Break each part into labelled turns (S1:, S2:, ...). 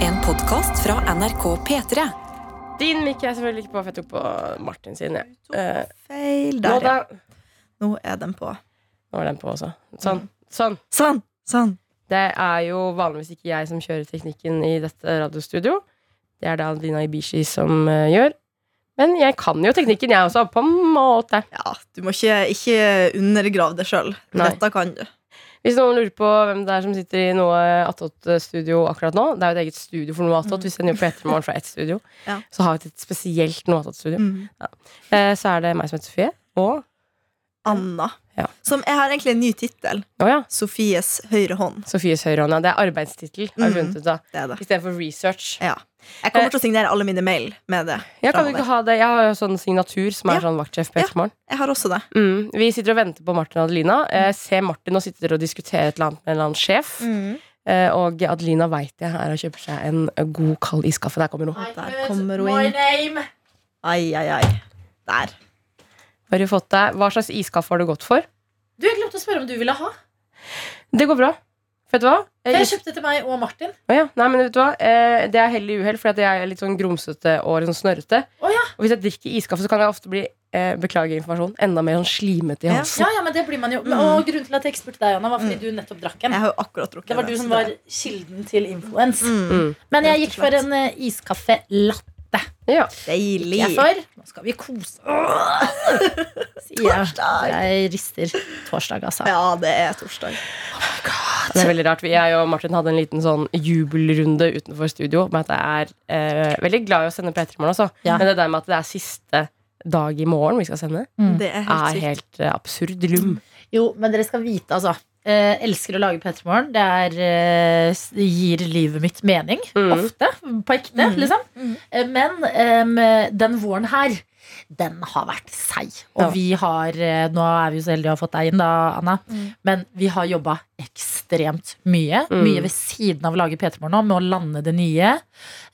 S1: En podkast fra NRK P3.
S2: Din mikk er selvfølgelig ikke på, for jeg tok på Martin sin. jeg.
S3: To
S2: Eh,
S3: feil
S2: nå,
S3: der, ja.
S2: da.
S3: Nå er den på.
S2: nå er den på også. Sånn. sånn.
S3: Sånn! Sånn.
S2: Det er jo vanligvis ikke jeg som kjører teknikken i dette radiostudio. Det er det Adelina Ibishi som eh, gjør. Men jeg kan jo teknikken, jeg også, på en måte.
S3: Ja, du må ikke, ikke undergrave det sjøl.
S2: Nei.
S3: Dette kan du.
S2: Hvis noen lurer på hvem det er som sitter i noe Attåt-studio akkurat nå Det er jo et eget studio for noe Attåt. Vi sender jo på ettermorgen fra ett studio.
S3: Mm. Ja.
S2: Så har vi et spesielt noe Attåt-studio.
S3: Mm.
S2: Eh, så er det meg som heter Sofie. Og
S3: Anna.
S2: Ja.
S3: Som jeg har egentlig en ny tittel.
S2: Å ja.
S3: Sofies høyre hånd.
S2: Sofies høyrehånd. ja. Det er arbeidstittel. har vi
S3: Mm.
S2: funnet ut av.
S3: Det er det.
S2: Istedenfor research.
S3: Ja. Jeg kommer til å signere alle mine mail med det.
S2: Eh. Ja, kan
S3: Fremover.
S2: vi ikke ha det? Jeg har jo sånn signatur som er
S3: Ja.
S2: sånn vaktsjef på
S3: Ja.
S2: Ettermorgen.
S3: Jeg har også det.
S2: Mm. Vi sitter og venter på Martin og Adelina. Eh, ser Martin og sitter og diskuterer et eller annet med en eller annen sjef.
S3: Mm.
S2: Eh, og Adelina veit jeg er og kjøper seg en eh, god kald iskaffe. Der kommer hun.
S3: Der kommer hun inn. Ai, ai, ai. Der.
S2: Har du fått deg, hva slags iskaffe har du gått for?
S4: Du, jeg glemte å spørre om du ville ha.
S2: Det går bra. Vet du hva?
S4: For
S2: Eh,
S4: jeg
S2: is-
S4: kjøpte til meg og Martin.
S2: Å ja. Nei, men vet du hva? Eh, det er hell i uhell, for jeg er litt sånn grumsete og litt sånn snørrete.
S4: Å ja.
S2: Og hvis jeg drikker iskaffe, så kan jeg ofte bli eh, beklager informasjon, enda mer sånn slimete i
S3: Ja.
S2: halsen.
S4: Ja, ja, men det blir man
S3: Mm.
S4: jo Men- Og grunnen til at jeg ikke spurte deg, Anna, var fordi du nettopp drakk en.
S3: Jeg har jo akkurat drukket
S4: Det var
S3: den, så
S4: du som
S3: det-
S4: var kilden til influens.
S3: mm.
S2: Mm.
S4: Men jeg
S3: Rett og
S4: gikk for
S3: slett.
S4: en eh, iskaffe latte.
S2: Ja.
S3: Deilig.
S4: Jeg for. Nå skal vi kose oss. Sier jeg.
S3: Torsdag.
S4: Jeg rister torsdag, altså.
S3: Ja, det er torsdag.
S2: Det er veldig rart. Vi- Jeg og Martin hadde en liten sånn jubelrunde utenfor studio med at jeg er eh, veldig glad i å sende P3 i morgen også.
S4: Ja.
S2: Men det der med at det er siste dag i morgen vi skal sende,
S3: Det er helt
S2: er Mm.
S3: sykt.
S2: helt eh, absurd lum.
S4: Jo, men dere skal vite, altså. Eh, elsker å lage P3 Morgen. Det er, eh, s- gir livet mitt mening.
S2: Mm.
S4: Ofte. På ekte, liksom. Eh, men em, den våren her, den har vært seig. Og
S2: Ja.
S4: vi har eh, Nå er vi jo så heldige å ha fått deg inn, da, Anna. Men vi har jobba ekstremt mye.
S2: Mm.
S4: Mye ved siden av å lage P3 Morgen nå, med å lande det nye.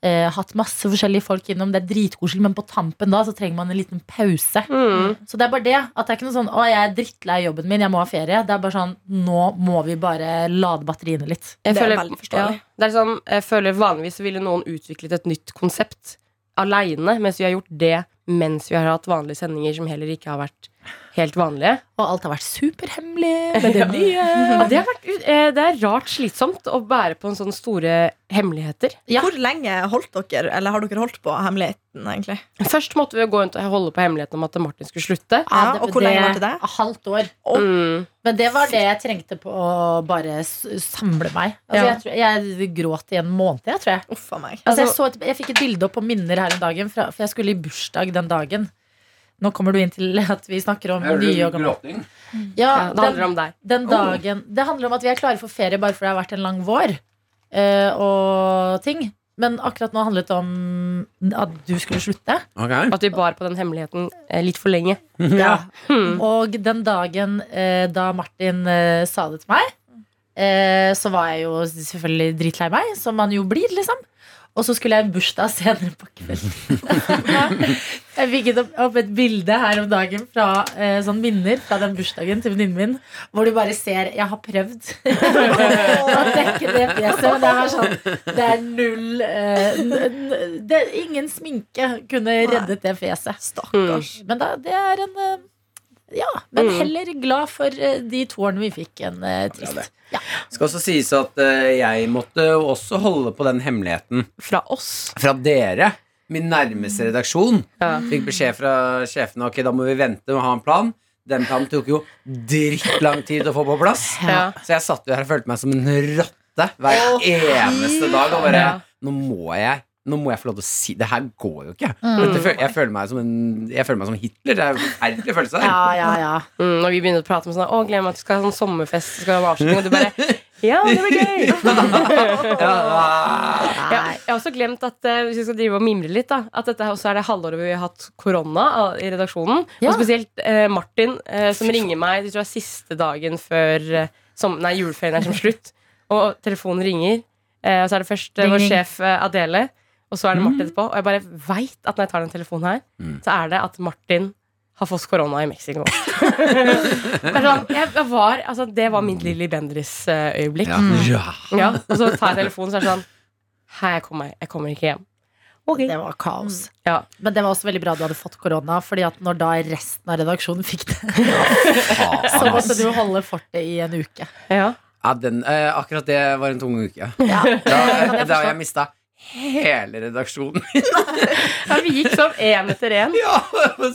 S4: Eh, hatt masse forskjellige folk innom. Det er dritkoselig, men på tampen da så trenger man en liten pause.
S2: Mm.
S4: Så det er bare det. At det er ikke noe sånn 'Å, jeg er drittlei jobben min, jeg må ha ferie'. Det er bare sånn Nå må vi bare lade batteriene litt.
S2: Jeg
S3: Det er
S2: føler-
S3: veldig forståelig.
S2: Ja, det er sånn, jeg føler vanligvis ville noen utviklet et nytt konsept aleine, mens vi har gjort det mens vi har hatt vanlige sendinger som heller ikke har vært helt vanlige.
S4: Og alt har vært superhemmelig. Men det nye.
S2: Ja, det, har vært, ut- eh, det er rart slitsomt å bære på en sånn store hemmeligheter.
S4: Ja.
S3: Hvor lenge holdt dere, eller har dere holdt på hemmeligheten, egentlig?
S2: Først måtte vi jo gå rundt og holde på hemmeligheten om at Martin skulle slutte.
S3: Ja, og hvor lenge var det det?
S4: Halvt år.
S2: Mm.
S4: Men det var det jeg trengte på å bare s- samle meg.
S2: Ja.
S4: Altså, jeg, tror, jeg gråt i en måned, jeg, tror jeg.
S3: Uff a meg.
S4: Altså, jeg, så et, jeg fikk et bilde opp på minner her en dagen, fra, for jeg skulle i bursdag den dagen. Nå kommer du inn til at vi snakker om nye og gamle.
S5: gråting?
S4: Ja,
S2: Ja, det
S4: den-
S2: handler om deg.
S4: den dagen Det handler om at vi er klare for ferie bare fordi det har vært en lang vår. eh, og ting. Men akkurat nå handlet det om at du skulle slutte.
S5: Ok.
S2: At vi bar på den hemmeligheten eh, litt for lenge.
S4: Og den dagen eh, da Martin eh, sa det til meg, eh, så var jeg jo selvfølgelig dritlei meg, som man jo blir, liksom. Og så skulle jeg i bursdag senere på kvelden. jeg fikk opp, opp et bilde her om dagen fra eh, sånn minner fra den bursdagen til venninnen min, hvor du bare ser Jeg har prøvd. å dekke det fjeset, men det er sånn Det er null eh, n- n- det, Ingen sminke kunne reddet det fjeset. Mm.
S3: Stakkars.
S4: Men da, det er en eh, Ja, men heller glad for eh, de to årene vi fikk enn eh, trist.
S5: Skal også sies at eh, jeg måtte jo også holde på den hemmeligheten
S2: Fra oss.
S5: fra dere. Min nærmeste redaksjon
S2: Ja.
S5: fikk beskjed fra sjefene Ok, da må vi vente og ha en plan. Den planen tok jo drittlang tid å få på plass.
S2: Ja.
S5: Så jeg satt jo her og følte meg som en rotte hver eneste dag. Og bare
S2: Ja.
S5: Nå må jeg Nå må jeg få lov til å si Det her går jo ikke. Dette føl, jeg, føler meg som en, jeg føler meg som Hitler. Det er en forferdelig følelse.
S4: Ja, ja, ja.
S2: Mm, når vi begynner å prate om sånn Å, gleder meg at du skal ha sånn sommerfest. Du skal ha en avslutning Og du bare Ja, det blir gøy!
S5: Ja.
S2: Ja, jeg har også glemt at eh, hvis vi skal drive og mimre litt da, At dette også er det halvåret hvor vi har hatt korona eh, i redaksjonen.
S4: Ja.
S2: Og spesielt eh, Martin, eh, som ringer meg det tror jeg er siste dagen før eh, som, Nei, juleferien er som slutt. Og telefonen ringer. Eh, og så er det først eh, vår
S4: Ring, ring.
S2: sjef eh, Adele, og så er det Martin etterpå. Og jeg bare veit at når jeg tar den telefonen her, så er det at Martin har fått korona i Mexico. Det er sånn, jeg, jeg var, altså, det var mitt Lilly Bendriss-øyeblikk.
S5: Ja.
S2: Ja, og så tar jeg telefonen, så er det sånn Hei, jeg kommer, jeg kommer ikke hjem.
S4: Det var kaos.
S2: Ja.
S4: Men det var også veldig bra du hadde fått korona, Fordi at når da resten av redaksjonen fikk det,
S5: Faen,
S4: så
S5: ass.
S4: måtte du holde fortet i en uke.
S2: Ja.
S5: Ja, den, eh, akkurat det var en tung uke.
S4: Ja,
S5: Da, eh,
S4: kan jeg
S5: da har
S4: forstå.
S5: jeg mista hele redaksjonen.
S2: ja, vi gikk sånn én etter én.
S5: ja,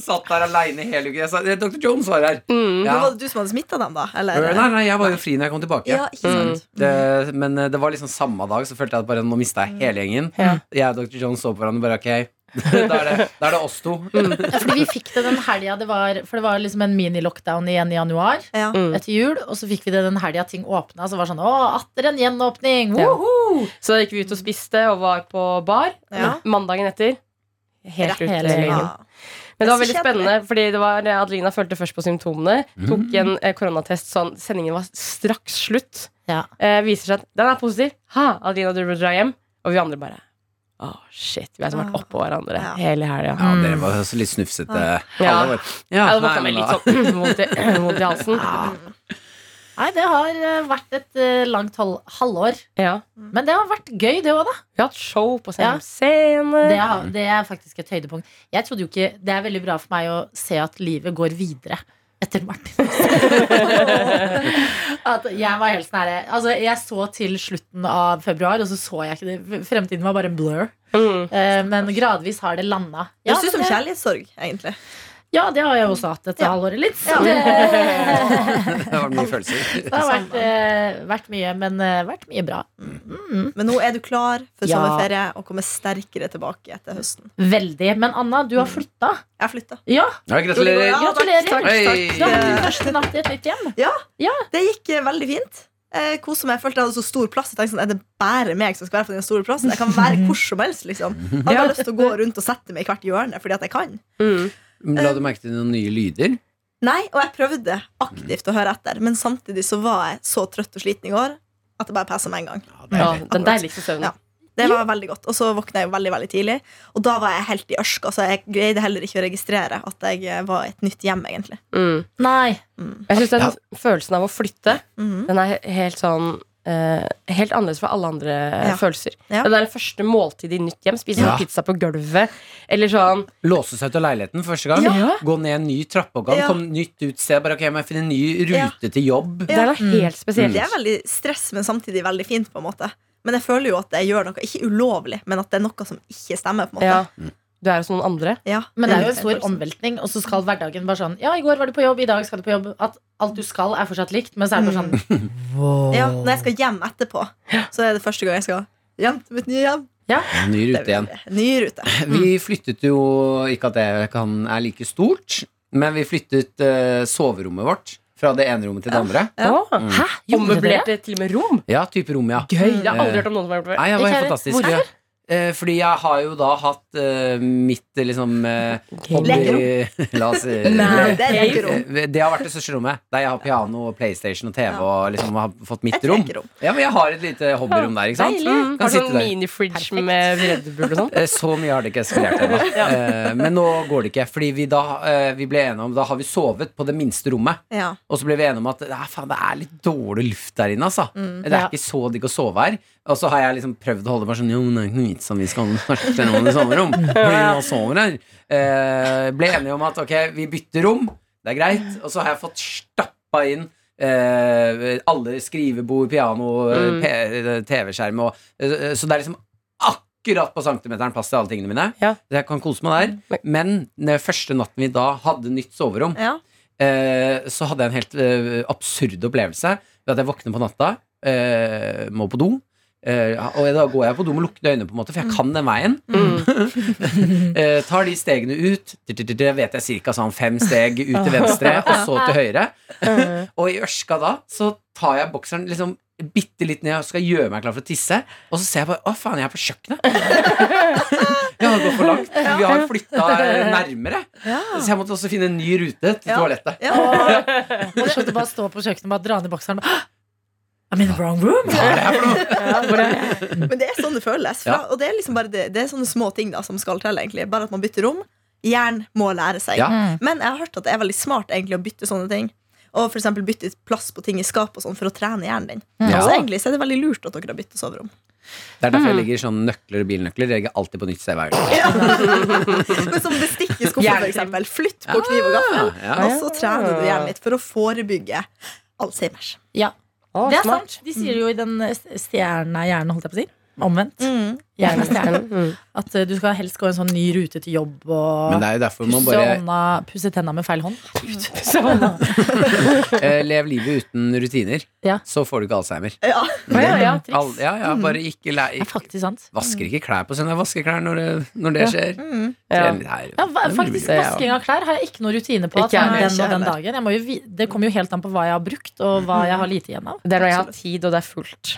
S5: Satt der aleine hele uken. Jeg sa Dr. Jones var her.
S2: Mm.
S5: Ja.
S3: Men Var det du som hadde smitta dem, da? Eller? Mm.
S5: Nei, nei, jeg var jo fri når jeg kom tilbake. Mm.
S3: Ja, ikke sant.
S5: Det, men eh, det var liksom samme dag, så følte jeg at bare nå mista jeg hele gjengen.
S2: Ja.
S5: Jeg og Dr. Jones så på hverandre og bare ok, da er det, da er det oss to.
S4: Ja, fordi vi fikk det den helga det var For det var liksom en mini-lockdown igjen i januar.
S3: Ja.
S4: Etter jul, Og så fikk vi det den helga ting åpna. Så var det sånn, å, atter en gjenåpning
S2: Ja.
S4: woho!»
S2: Så da gikk vi ut og spiste og var på bar.
S3: Ja.
S2: Mandagen etter.
S4: Rett
S2: Helt ute. i
S4: hele gjengen.
S2: gangen.
S3: Ja.
S2: Men det var
S3: Det er
S2: veldig
S3: så kjedelig.
S2: spennende, fordi det var Adelina følte først på symptomene.
S5: Mm.
S2: Tok en eh, koronatest sånn. Sendingen var straks slutt.
S4: Ja.
S2: Eh, viser seg at den er positiv. Ha, Adelina, du burde dra hjem. Og vi andre bare Å, shit. Vi har liksom vært oppå hverandre
S3: Ah. Ja.
S2: hele helga.
S5: Ja, dere var også litt snufsete.
S2: Ja.
S5: Alle var-
S2: Ja,
S5: Ja,
S2: det var
S5: nei, men
S2: litt
S5: da-
S2: sånn vondt i, vondt i halsen.
S3: Ah.
S4: Nei, det har eh, vært et eh, langt hal halvår.
S2: Ja.
S3: Mm.
S4: Men det har vært gøy, det òg, da.
S2: Vi har hatt show på
S4: Ja.
S2: samme scene.
S4: Det er, det er faktisk et høydepunkt. Jeg trodde jo ikke, Det er veldig bra for meg å se at livet går videre etter Martin. at jeg var helt sånn herre altså, Jeg så til slutten av februar, og så så jeg ikke det. Fremtiden var bare en blur.
S2: Mm.
S4: Eh, men gradvis har det landa.
S3: Det høres ut som
S4: men det-
S3: kjærlighetssorg, egentlig.
S4: ja, det har jeg også hatt dette
S3: Ja.
S4: halvåret litt.
S3: Ja.
S4: Det,
S5: Det var mye følelser.
S4: det har vært, eh, vært mye, men eh, vært mye bra.
S3: Men nå er du klar for
S4: Ja.
S3: sommerferie og kommer sterkere tilbake etter høsten.
S4: Veldig. Men Anna, du
S3: Mm.
S4: har flytta.
S3: Jeg flytta.
S4: Ja,
S5: Ja,
S3: Ja,
S5: gratulerer.
S3: takk,
S4: gratulerer.
S3: takk,
S5: Hei.
S4: du har hatt din
S3: takk.
S4: første natt i et nytt hjem.
S3: Det gikk eh, veldig fint. Eh, koset meg. Jeg følte jeg hadde så stor plass. Jeg tenkte sånn, Er det bare meg som skal være på den store plassen? Jeg kan være hvor som helst. liksom Jeg hadde lyst til å gå rundt og sette meg i hvert hjørne fordi at jeg kan.
S2: Mm.
S5: La du merke til noen nye lyder?
S3: Nei, Og jeg prøvde aktivt å høre etter, men samtidig så var jeg så trøtt og sliten i går at jeg bare passa med en gang.
S5: Ja,
S2: Ja,
S5: det
S2: den deiligste søvnen.
S3: Ja. Det var veldig godt, Og så våkna jeg jo veldig veldig tidlig, og da var jeg helt i ørska. Så jeg greide heller ikke å registrere at jeg eh, var i et nytt hjem, egentlig.
S2: Mm.
S4: Nei.
S2: Jeg synes den
S5: Ja.
S2: følelsen av å flytte
S3: Mhm.
S2: Den er he- helt sånn eh, Helt annerledes fra alle andre eh,
S3: Ja.
S2: følelser.
S3: Ja.
S2: Den er det første måltidet i nytt hjem. Spise
S5: Ja.
S2: noe pizza på gulvet. Eller sånn
S5: Låse seg ut av leiligheten for første gang.
S2: Ja.
S5: Gå ned en ny trappeoppgang,
S3: Ja.
S5: kom nytt ut sted. Bare ok, jeg må finne en ny rute til jobb.
S2: Det er noe helt
S5: Mm.
S2: spesielt.
S3: Det er veldig stress, men samtidig veldig fint. på en måte Men jeg føler jo at jeg gjør noe ikke ulovlig, men at det er noe som ikke stemmer. på en måte
S2: Ja. Du er hos noen andre.
S3: Ja.
S4: Men det er jo en
S3: Mm.
S4: stor omveltning, og så skal hverdagen bare sånn Ja, i går var du på jobb, i dag skal du på jobb. At alt du skal, er fortsatt likt, men så er det bare sånn
S3: ja, Når jeg skal hjem etterpå, så er det første gang jeg skal hjem til mitt nye hjem.
S5: Ny
S3: Det
S5: rute igjen.
S3: blir Ny rute.
S5: Vi flyttet jo Ikke at det kan, er like stort, men vi flyttet eh, soverommet vårt fra det ene rommet til det andre.
S3: Ja.
S2: Å,
S5: Mm.
S4: Hæ? Gjorde dere det?
S2: Ommøblerte til og med rom.
S5: Ja, type rom, ja.
S2: Gøy. Jeg har
S5: Eh,
S2: aldri hørt om noen som har gjort det før.
S5: Nei, det var
S4: Ikke
S5: helt
S4: heller.
S5: fantastisk. ja. Eh, Fordi jeg har jo da hatt eh, mitt eh, liksom eh, hobby La oss eh,
S3: Nei, det er
S2: Nei.
S3: lekerom.
S5: eh, det har vært det største rommet, der jeg har piano og PlayStation og TV. Og liksom har fått mitt
S3: Et
S5: rom.
S3: lekerom.
S5: Ja, men Jeg har et lite hobbyrom der. ikke sant?
S2: Mm,
S5: Kan
S2: Har
S5: sitte
S2: sånn
S5: der.
S2: minifridge med Red Bull og sånn.
S5: Eh, Så mye har det ikke eskalert ennå. Eh, Men nå går det ikke. Fordi vi da, eh, vi ble enige om Da har vi sovet på det minste rommet.
S3: Ja.
S5: Og så ble vi enige om at "Nei, faen, det er litt dårlig luft der inne. Altså.
S2: Mm,
S5: det er
S4: Ja.
S5: ikke så digg å sove her. Og så har jeg liksom prøvd å holde meg sånn Jo, men det er ikke noe vits om vi skal snakke noen i soverom. Fordi man sover her. Eh, ble enige om at ok, vi bytter rom. Det er greit. Og så har jeg fått stappa inn eh, alle skrivebord, piano,
S2: Mm.
S5: P- TV-skjerm og eh, Så det er liksom akkurat på centimeteren plass til alle tingene mine.
S2: Ja. Mm.
S5: Så jeg kan kose meg der. Men den første natten vi da hadde nytt soverom,
S3: Ja.
S5: Eh, så hadde jeg en helt eh, absurd opplevelse ved at jeg våkner på natta, eh, må på do. eh, og da går jeg på do med lukkede øyne, på en måte for jeg
S3: Mm.
S5: kan den veien. Eh, tar de stegene ut. Det vet jeg cirka sånn fem steg ut til venstre, og så til høyre.
S2: Mm.
S5: Og i ørska da så tar jeg bokseren liksom bitte litt ned og skal gjøre meg klar for å tisse. Og så ser jeg bare Å, faen, jeg er på kjøkkenet! Jeg har gått for langt. Vi har flytta nærmere.
S3: Ja.
S5: Så jeg måtte også finne en ny rute til
S3: Ja.
S5: toalettet.
S3: Ja.
S4: Morsomt å bare stå på kjøkkenet og bare dra ned bokseren. og bare, I'm in the wrong room!
S3: Men det er sånn det føles. Fra,
S5: Ja.
S3: Og det er liksom bare det, det er sånne små ting da som skal til. egentlig Bare at man bytter rom. Hjernen må lære seg.
S5: Ja.
S3: Men jeg har hørt at det er veldig smart egentlig å bytte sånne ting. Og for eksempel bytte ut plass på ting i skapet og sånn for å trene hjernen din.
S5: Ja.
S3: Så egentlig så er det veldig lurt at dere har byttet soverom.
S5: Det er derfor jeg legger sånn nøkler og bilnøkler. Jeg legger alltid på nytt sted hver gang.
S3: Men som bestikk i skuffen, for eksempel. Flytt på kniv og gaffel.
S5: Ah. Ja,
S3: Og så trener du hjernen litt for å forebygge Alzheimers.
S4: Ja.
S2: Å,
S4: Det er
S2: smart.
S4: sant. De sier jo i den eh, stjerna er hjerne, holdt jeg på å si. Omvendt. Hjerne er stjerne.
S2: Mm.
S4: At eh, du skal helst gå en sånn ny rute til jobb og
S5: Men det er jo derfor man
S4: pusse,
S5: bare
S4: hånda, pusse tenna med feil hånd.
S2: Så,
S5: eh, lever livet uten rutiner.
S4: Ja.
S5: Så får du ikke Alzheimer.
S3: Ja.
S2: ja, ja.
S5: Al ja, ja, bare ikke læ-
S4: Det er faktisk sant.
S5: Vasker ikke klær på søndag. Vasker klær når det, når det skjer.
S2: Ja.
S5: Trener her.
S4: Ja, hva- faktisk
S2: Det er jo-
S4: Vasking av klær har jeg ikke noe rutine på. At
S2: Ikke jeg
S4: sånn,
S3: heller,
S4: den
S3: ikke
S4: og den
S3: heller.
S4: dagen jeg må jo, vi- Det kommer jo helt an på hva jeg har brukt, og hva jeg har lite igjen av.
S2: Det er når jeg har tid, og det er fullt.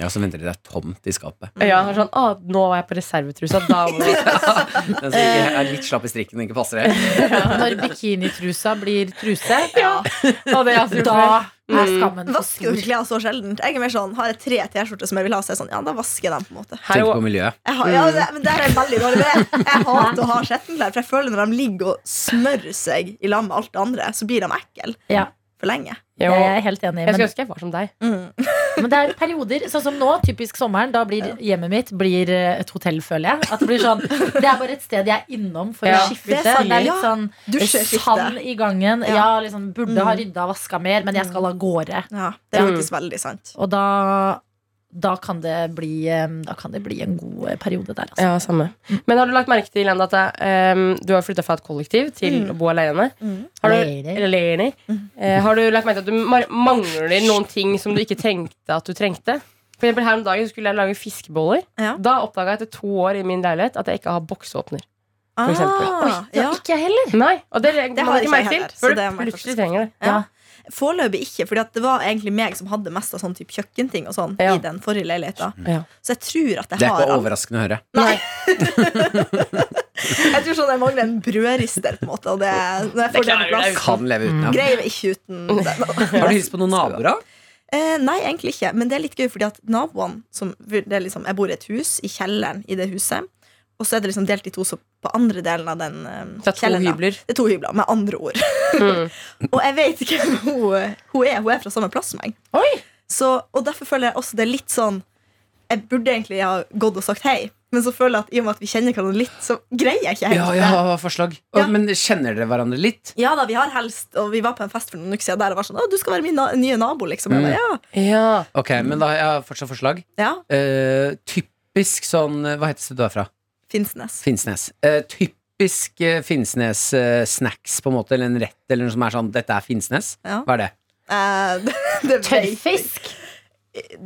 S5: Ja, så venter de det er tomt i skapet.
S3: Mm.
S2: Og jeg har sånn Å, nå var jeg på reservetrusa. Da må
S5: Den som ikke er litt slapp i strikken og ikke passer det.
S4: Når bikinitrusa blir truse,
S2: Og det er jeg
S4: da
S2: da.
S4: er skammen for
S3: Vasker dere
S4: stor.
S3: klær så sjeldent? Jeg er mer sånn, Har jeg tre T-skjorter som jeg vil ha, så er jeg sånn, ja, da vasker jeg dem. på en måte
S2: Her,
S5: Tenker
S2: og-
S5: på miljøet.
S3: Jeg har,
S5: Mm.
S3: ja, det, men det er jeg veldig dårlig med. Jeg hater å ha skjettenklær, for jeg føler når de ligger og smører seg i lag med alt det andre, så blir de ekle
S4: Ja,
S3: for lenge.
S2: jo,
S4: jeg
S2: jeg
S4: er helt enig.
S2: skulle
S4: Men,
S2: ønske jeg var som deg.
S3: Mm.
S4: men det er perioder, sånn som nå, typisk sommeren, da blir hjemmet mitt blir eh, et hotell, føler jeg. At det blir sånn Det er bare et sted jeg er innom for
S2: Ja.
S4: å skifte.
S3: Det er sant.
S4: Det er litt
S3: Ja.
S4: sånn
S3: Dusjeskifte.
S4: sand i gangen.
S3: Ja.
S4: Ja, liksom burde ha rydda og vaska mer, men jeg skal av gårde.
S3: Ja, det er faktisk veldig sant.
S4: Og da, da, kan det bli, eh, da kan det bli en god eh, periode der, altså.
S2: Ja, samme. Men har du lagt merke til Enda, at eh, du har flytta fra et kollektiv til
S3: Mm.
S2: å bo alene? Har du,
S4: Alene.
S2: eller alene. Eh, har du lagt merke til at du mar- mangler noen ting som du ikke tenkte at du trengte? For eksempel Her om dagen skulle jeg lage fiskeboller.
S3: Ja.
S2: Da oppdaga jeg etter to år i min leilighet at jeg ikke har bokseåpner. For eksempel.
S3: Ah, ja.
S4: Ikke jeg heller.
S2: Nei, og det, det
S3: har
S2: har ikke
S3: ikke jeg
S2: merke til.
S3: heller, så
S2: Før du
S3: det må jeg
S2: plutselig
S3: faktisk-
S2: trenger det.
S3: Ja. Foreløpig ikke, for det var egentlig meg som hadde mest av sånn type kjøkkenting og sånn
S2: Ja.
S3: i den forrige leiligheten.
S2: Ja.
S3: Så jeg tror at jeg
S5: Det er
S3: har
S5: ikke
S3: alt.
S5: overraskende å høre.
S3: Jeg tror sånn jeg mangler en brødrister, på en måte. Og det, når jeg får det på plass,
S5: Kan leve uten. Ja.
S3: greier jeg ikke uten den.
S5: Har du hilst på noen naboer? da?
S3: Eh, nei, egentlig ikke. Men det er litt gøy, fordi at naboene som, det er liksom, Jeg bor i et hus, i kjelleren i det huset. Og så er det liksom delt i to så på andre delen av den eh,
S2: Det er to
S3: kjelleren. da.
S2: hybler.
S3: Det er to hybler, med andre ord. og jeg vet ikke hvem hun, hun er. Hun er fra samme plass som meg.
S2: Oi!
S3: Så, og derfor føler jeg også det er litt sånn Jeg burde egentlig ha gått og sagt hei, men så føler jeg at i og med at vi kjenner hverandre litt, så greier jeg ikke helt
S5: Ja,
S3: det.
S5: jeg har forslag. Å,
S3: Ja.
S5: Men kjenner dere hverandre litt?
S3: Ja da, vi har helst Og vi var på en fest for noen uker siden der det var sånn Å, du skal være min na nye nabo, liksom. Jeg
S5: Mm.
S3: bare, ja.
S2: Ja.
S5: Ok, men da har jeg fortsatt forslag.
S3: ja,
S5: Eh, typisk sånn Hva heter stedet du er fra?
S3: Finnsnes.
S5: Finnsnes. Eh, typisk eh, Finnsnes-snacks, på en måte, eller en rett eller noe som er sånn Dette er Finnsnes.
S3: Ja.
S5: Hva er det?
S3: Eh, det, det vet jeg
S4: Tørrfisk.
S3: ikke.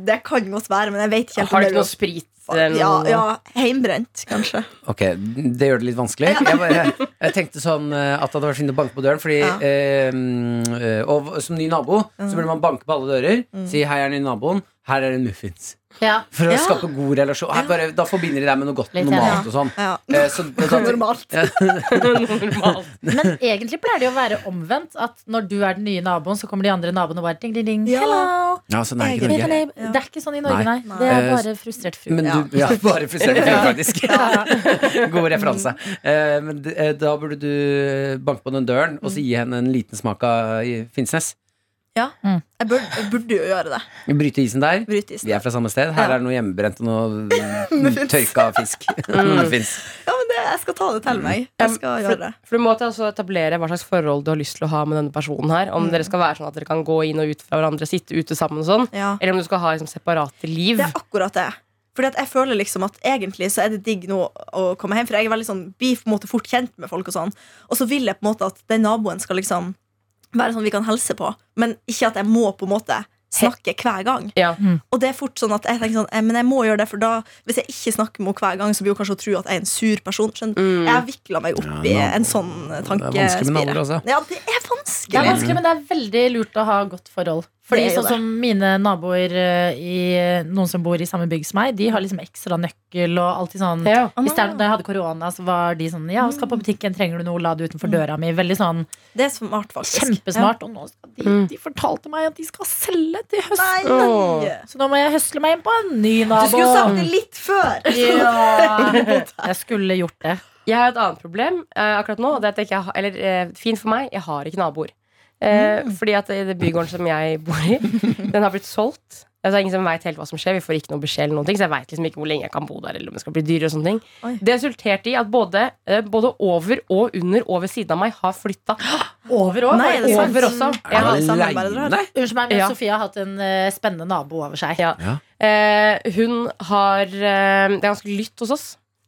S3: Det kan godt være, men jeg vet ikke helt
S2: Har du
S3: om
S2: ikke noe
S3: det
S2: sprit?
S3: er
S2: Eller
S3: Ja,
S2: noe?
S3: ja, heimbrent, kanskje.
S5: Ok, det gjør det litt vanskelig. Jeg, bare, jeg, tenkte sånn eh, at det hadde vært fint å banke på døren, fordi
S3: Ja. Mm.
S5: eh, mm, eh, Og som ny nabo så burde man banke på alle dører, si 'hei, jeg er ny naboen', her er det muffins.
S4: Ja.
S5: For å
S3: Ja.
S5: skape god relasjon. Her bare, da forbinder de deg med noe godt,
S4: Litt
S5: noe
S4: enig.
S5: mat og sånn.
S3: Ja.
S5: Eh, så, da,
S3: Normalt.
S2: Normalt.
S4: Men egentlig pleier det jo å være omvendt. At når du er den nye naboen, så kommer de andre naboene og bare ding, ding, ding.
S3: Ja.
S4: Hello.
S5: ja, sånn er det ikke i
S4: Hey,
S5: Norge.
S4: hey, hey. Det er ikke sånn i Norge, nei.
S5: Nei.
S4: Det er
S5: Nei.
S4: bare frustrert fru.
S5: Men du, ja, bare frustrerende film, faktisk. God referanse. Eh, men d- eh, da burde du eh, banke på den døren og så gi henne en liten smak av i Finnsnes.
S3: Ja.
S4: Mm.
S3: Jeg burde, jeg burde jo gjøre det.
S5: Bryte isen der.
S3: Bryte isen.
S5: Vi er fra samme sted. Her
S3: Ja.
S5: er det noe hjemmebrent og noe mm, tørka fisk. Det fins.
S3: Ja, men det, jeg skal ta det til meg. Jeg skal gjøre det.
S2: Mm. For du må til også etablere hva slags forhold du har lyst til å ha med denne personen her.
S3: Mm.
S2: Om dere skal være sånn at dere kan gå inn og ut fra hverandre, sitte ute sammen og sånn.
S3: Ja.
S2: Eller om du skal ha liksom, separate liv.
S3: Det er akkurat det. Fordi at jeg føler liksom at Egentlig så er det digg nå å komme hjem, for jeg er veldig sånn, blir på en måte fort kjent med folk. Og sånn Og så vil jeg på en måte at den naboen skal liksom være sånn vi kan hilse på, men ikke at jeg må på en måte snakke hver gang.
S2: Ja.
S5: Mm.
S3: Og det er fort sånn at jeg tenker sånn eh, Men jeg må gjøre det, for da hvis jeg ikke snakker med henne hver gang, så blir hun kanskje å tro at jeg er en sur person. Skjønner? du?
S4: Mm.
S2: Mm.
S3: Jeg har vikla meg opp
S5: Ja,
S3: i
S5: nabo-
S3: en sånn eh,
S5: vanskelig med
S3: tankespire.
S5: naboer, altså.
S3: Ja, det er
S4: Det er
S3: vanskelig.
S4: vanskelig, men det er veldig lurt å ha godt forhold. Fordi
S3: Det er jo
S4: sånn som mine naboer eh, i Noen som bor i samme bygg som meg, de har liksom ekstra nøkkel og alltid sånn
S2: Ja.
S4: Hvis det er, da jeg hadde korona, så var de sånn Ja, skal på butikken, trenger du noe, la det utenfor
S3: Mm.
S4: døra mi. Veldig sånn
S3: Det er smart, faktisk.
S4: kjempesmart. Og nå skal de
S2: Mm.
S4: De fortalte meg at de skal selge til
S3: Ja.
S4: høsten.
S2: Åh.
S3: Nei!
S4: Så nå må jeg høsle meg inn på en ny
S3: Du
S4: nabo.
S3: skulle jo sagt det litt før!
S4: Ja, jeg skulle gjort det.
S2: Jeg har et annet problem eh, akkurat nå. og Det er at jeg ikke har, eller eh, fint for meg, jeg har ikke naboer. Eh,
S3: Mm.
S2: Fordi at det det bygården som jeg bor i, den har blitt solgt. Altså, det er ingen som vet helt hva som skjer. Vi får ikke noe beskjed, eller noen ting, så jeg vet liksom ikke hvor lenge jeg kan bo der. eller om det skal bli dyr og sånne ting.
S3: Oi.
S2: Det resulterte i at både, eh, både over og under og ved siden av meg har flytta.
S4: Over òg.
S3: Nei, er det sant?
S2: Over også.
S5: Er
S2: Ja.
S3: alle
S5: du
S3: sammen bare drar?
S5: aleine?
S4: Unnskyld meg, men
S2: Ja.
S4: Sofie har hatt en eh, spennende nabo over seg.
S2: Ja.
S5: Ja.
S2: Eh, hun har eh, Det er ganske lytt hos oss.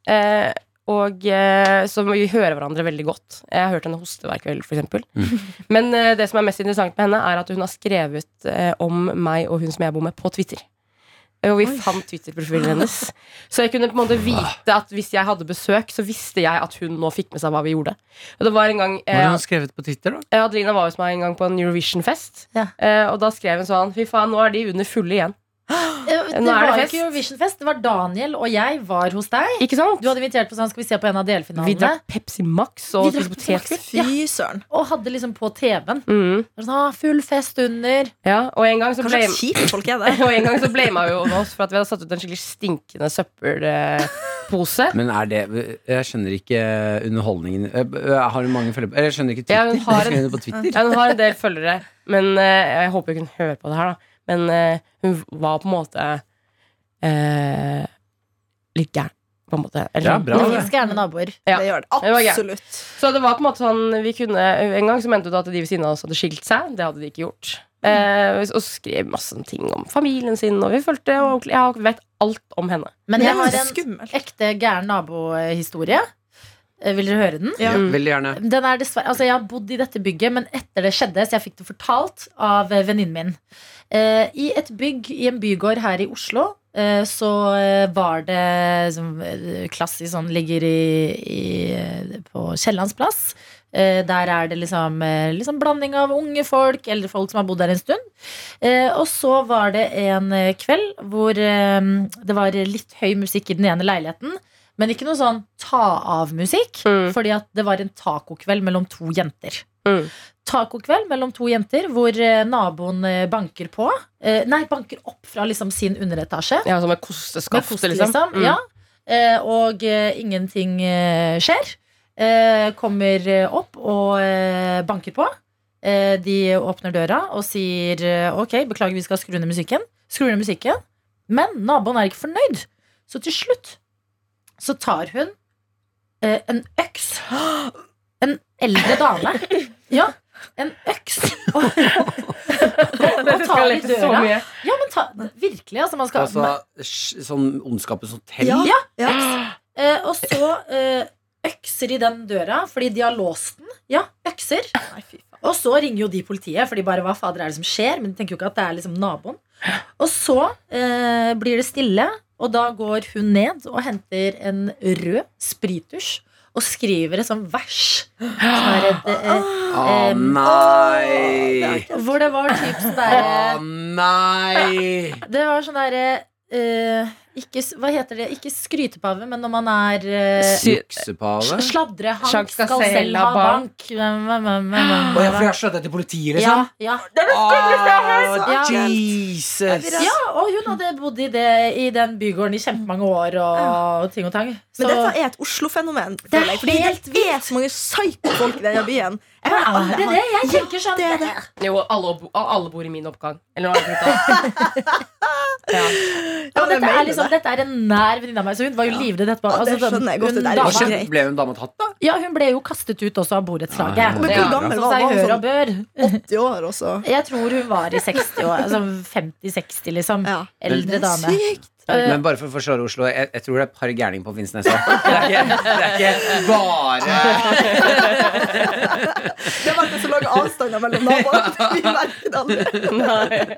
S2: Eh, og eh, så vi hører hverandre veldig godt. Jeg har hørt henne hoste hver kveld, f.eks.
S4: Mm.
S2: Men eh, det som er mest interessant med henne, er at hun har skrevet eh, om meg og hun som jeg bor med, på Twitter. Eh, Og vi fant Twitter-profilen hennes. Så jeg kunne på en måte vite at hvis jeg hadde besøk, så visste jeg at hun nå fikk med seg hva vi gjorde. Og det var en gang
S5: Hva har
S2: eh,
S5: hun skrevet på Twitter, da?
S2: Eh, Adelina var hos meg en gang på en Eurovision-fest.
S4: Ja.
S2: Eh, og da skrev hun sånn Fy faen, nå er de under fulle igjen.
S4: Eh, Det
S2: Nå er det
S4: var jo
S2: fest.
S4: ikke Eurovision-fest. Det var Daniel og jeg var hos deg.
S2: Ikke sant?
S4: Du hadde invitert på sånn, skal vi se på en av
S2: Vi
S4: delfinalene?
S2: drakk Pepsi Max og
S4: Vi drakk
S2: spiste
S4: Pepsi Max.
S2: potetgull.
S3: Fy søren.
S4: Og hadde liksom på TV-en.
S2: Mm.
S4: Det var Sånn, ah, full fest under.
S2: Ja, og en gang så
S3: Hva
S2: ble
S3: slags kjipe folk er det?
S2: og en gang så blama jo oss for at vi hadde satt ut en skikkelig stinkende søppelpose.
S5: Men er det Jeg skjønner ikke underholdningen Eh, b- Har hun mange følgere på Eller jeg skjønner ikke Twitter.
S2: Ja, hun har en-
S5: Skrev hun på Twitter?
S2: Ja, hun har en del følgere, men eh, jeg håper hun hører på det her, da. Men eh, hun var på en måte eh, litt gæren, på en måte. Eller
S5: Ja,
S2: sånn.
S5: bra.
S4: Det finnes gærne naboer.
S2: Ja.
S3: Det gjør det.
S2: Det var gøy.
S3: Absolutt.
S2: Så det var på en måte sånn vi kunne, En gang så mente du at de ved siden av oss hadde skilt seg. Det hadde de ikke gjort. Eh, og skrev masse ting om familien sin, og vi følte ordentlig Jeg vet alt om henne.
S4: Men jeg har en
S3: skummelt.
S4: ekte gæren nabohistorie. Eh, Vil dere høre den?
S5: Ja,
S3: Ja.
S5: veldig gjerne.
S4: Den er dessverre, altså jeg har bodd i dette bygget, men etter det skjedde, så jeg fikk det fortalt av eh, venninnen min. Eh, I et bygg i en bygård her i Oslo, eh, så eh, var det som, eh, klassisk sånn ligger i, i, eh, på Kiellands plass. Eh, der er det liksom, eh, liksom blanding av unge folk, eldre folk som har bodd der en stund. Eh, og så var det en eh, kveld hvor eh, det var litt høy musikk i den ene leiligheten. Men ikke noe sånn ta-av-musikk,
S2: Mm.
S4: fordi at det var en tacokveld mellom to jenter.
S2: Mm.
S4: Tacokveld mellom to jenter hvor eh, naboen eh, banker på. Eh, nei, banker opp fra liksom sin underetasje.
S2: Ja, som et
S4: Med
S2: kosteskaft,
S4: kost,
S2: liksom.
S4: liksom.
S2: Mm.
S4: Ja. Eh, og eh, ingenting eh, skjer. Eh, kommer eh, opp og eh, banker på. Eh, de åpner døra og sier eh, ok, beklager, vi skal skru ned musikken. Skrur ned musikken. Men naboen er ikke fornøyd. Så til slutt så tar hun eh, en øks. En eldre dame. Ja, en øks. Og, og
S2: Dette
S4: tar i
S2: eskalerte så
S4: døra.
S2: mye.
S4: Ja, men ta, virkelig, altså. Man skal,
S5: Altså, sj- sånn Ondskapens hotell?
S3: Ja. Ja.
S4: Eh, og så eh, økser i den døra, fordi de har låst den. Ja, økser.
S3: Nei, fy faen.
S4: Og så ringer jo de politiet, for de bare hva fader er det som skjer? Men de tenker jo ikke at det er liksom naboen. Og så eh, blir det stille, og da går hun ned og henter en rød sprittusj og skriver et sånt vers.
S2: Sånn
S4: Som er et, eh,
S5: Å
S4: Em,
S5: nei!
S4: hvor det var typ sånn
S5: Å
S4: derre
S5: nei!
S4: Det var sånn derre eh, ikke, s- hva heter det? Ikke skrytepave, men når man er eh,
S2: Sy-
S5: Juksepave?
S4: Sladrehank
S2: Sjank
S4: skal,
S2: skal
S4: selv ha bank.
S5: Å ja, for jeg har slått etter politiet,
S4: Ja,
S5: liksom?
S4: ja.
S5: Å,
S4: Ja.
S5: Jesus!
S4: ja, og hun hadde bodd i, det, i den bygården i kjempemange år og ting og tang. Så
S3: Men dette er et Oslo-fenomen.
S4: Det er
S3: føler jeg, Fordi
S4: helt
S3: det er så mange psyko-folk i denne byen. Jeg hører
S4: er
S3: alle
S4: det
S3: har-
S4: det? Jeg tenker sånn
S3: det er
S2: Jo, alle, bo- alle bor i min oppgang. Eller noe annet. Ja.
S4: Ja, men
S3: Ja, det
S4: dette,
S3: mener
S4: er liksom, dette er en nær venninne av meg, så hun var jo livredd etterpå.
S3: Ja, det
S4: den-
S3: skjønner jeg godt, det
S4: hun
S3: der er
S5: Hva
S4: dama-
S3: ikke
S5: skjedde?
S3: greit.
S5: Ble hun dame tatt, da?
S4: Ja, hun ble jo kastet ut også av borettslaget.
S5: Ja,
S3: Men
S5: ja, ja.
S3: hvor gammel
S4: Så
S3: var
S4: sa jeg
S3: hun?
S4: hør og
S3: Sånn
S4: bør.
S3: 80 år også?
S4: Jeg tror hun var i 60 år, altså 50-60, liksom.
S3: Ja.
S4: Eldre dame.
S3: Sykt.
S4: Eh,
S5: Men bare for å forstå Oslo, jeg, jeg tror det er et par gærninger på Finnsnes også. Det er ikke, det er ikke bare
S3: Det var ikke så lang avstand mellom naboene. Vi merker det aldri.
S4: Men det er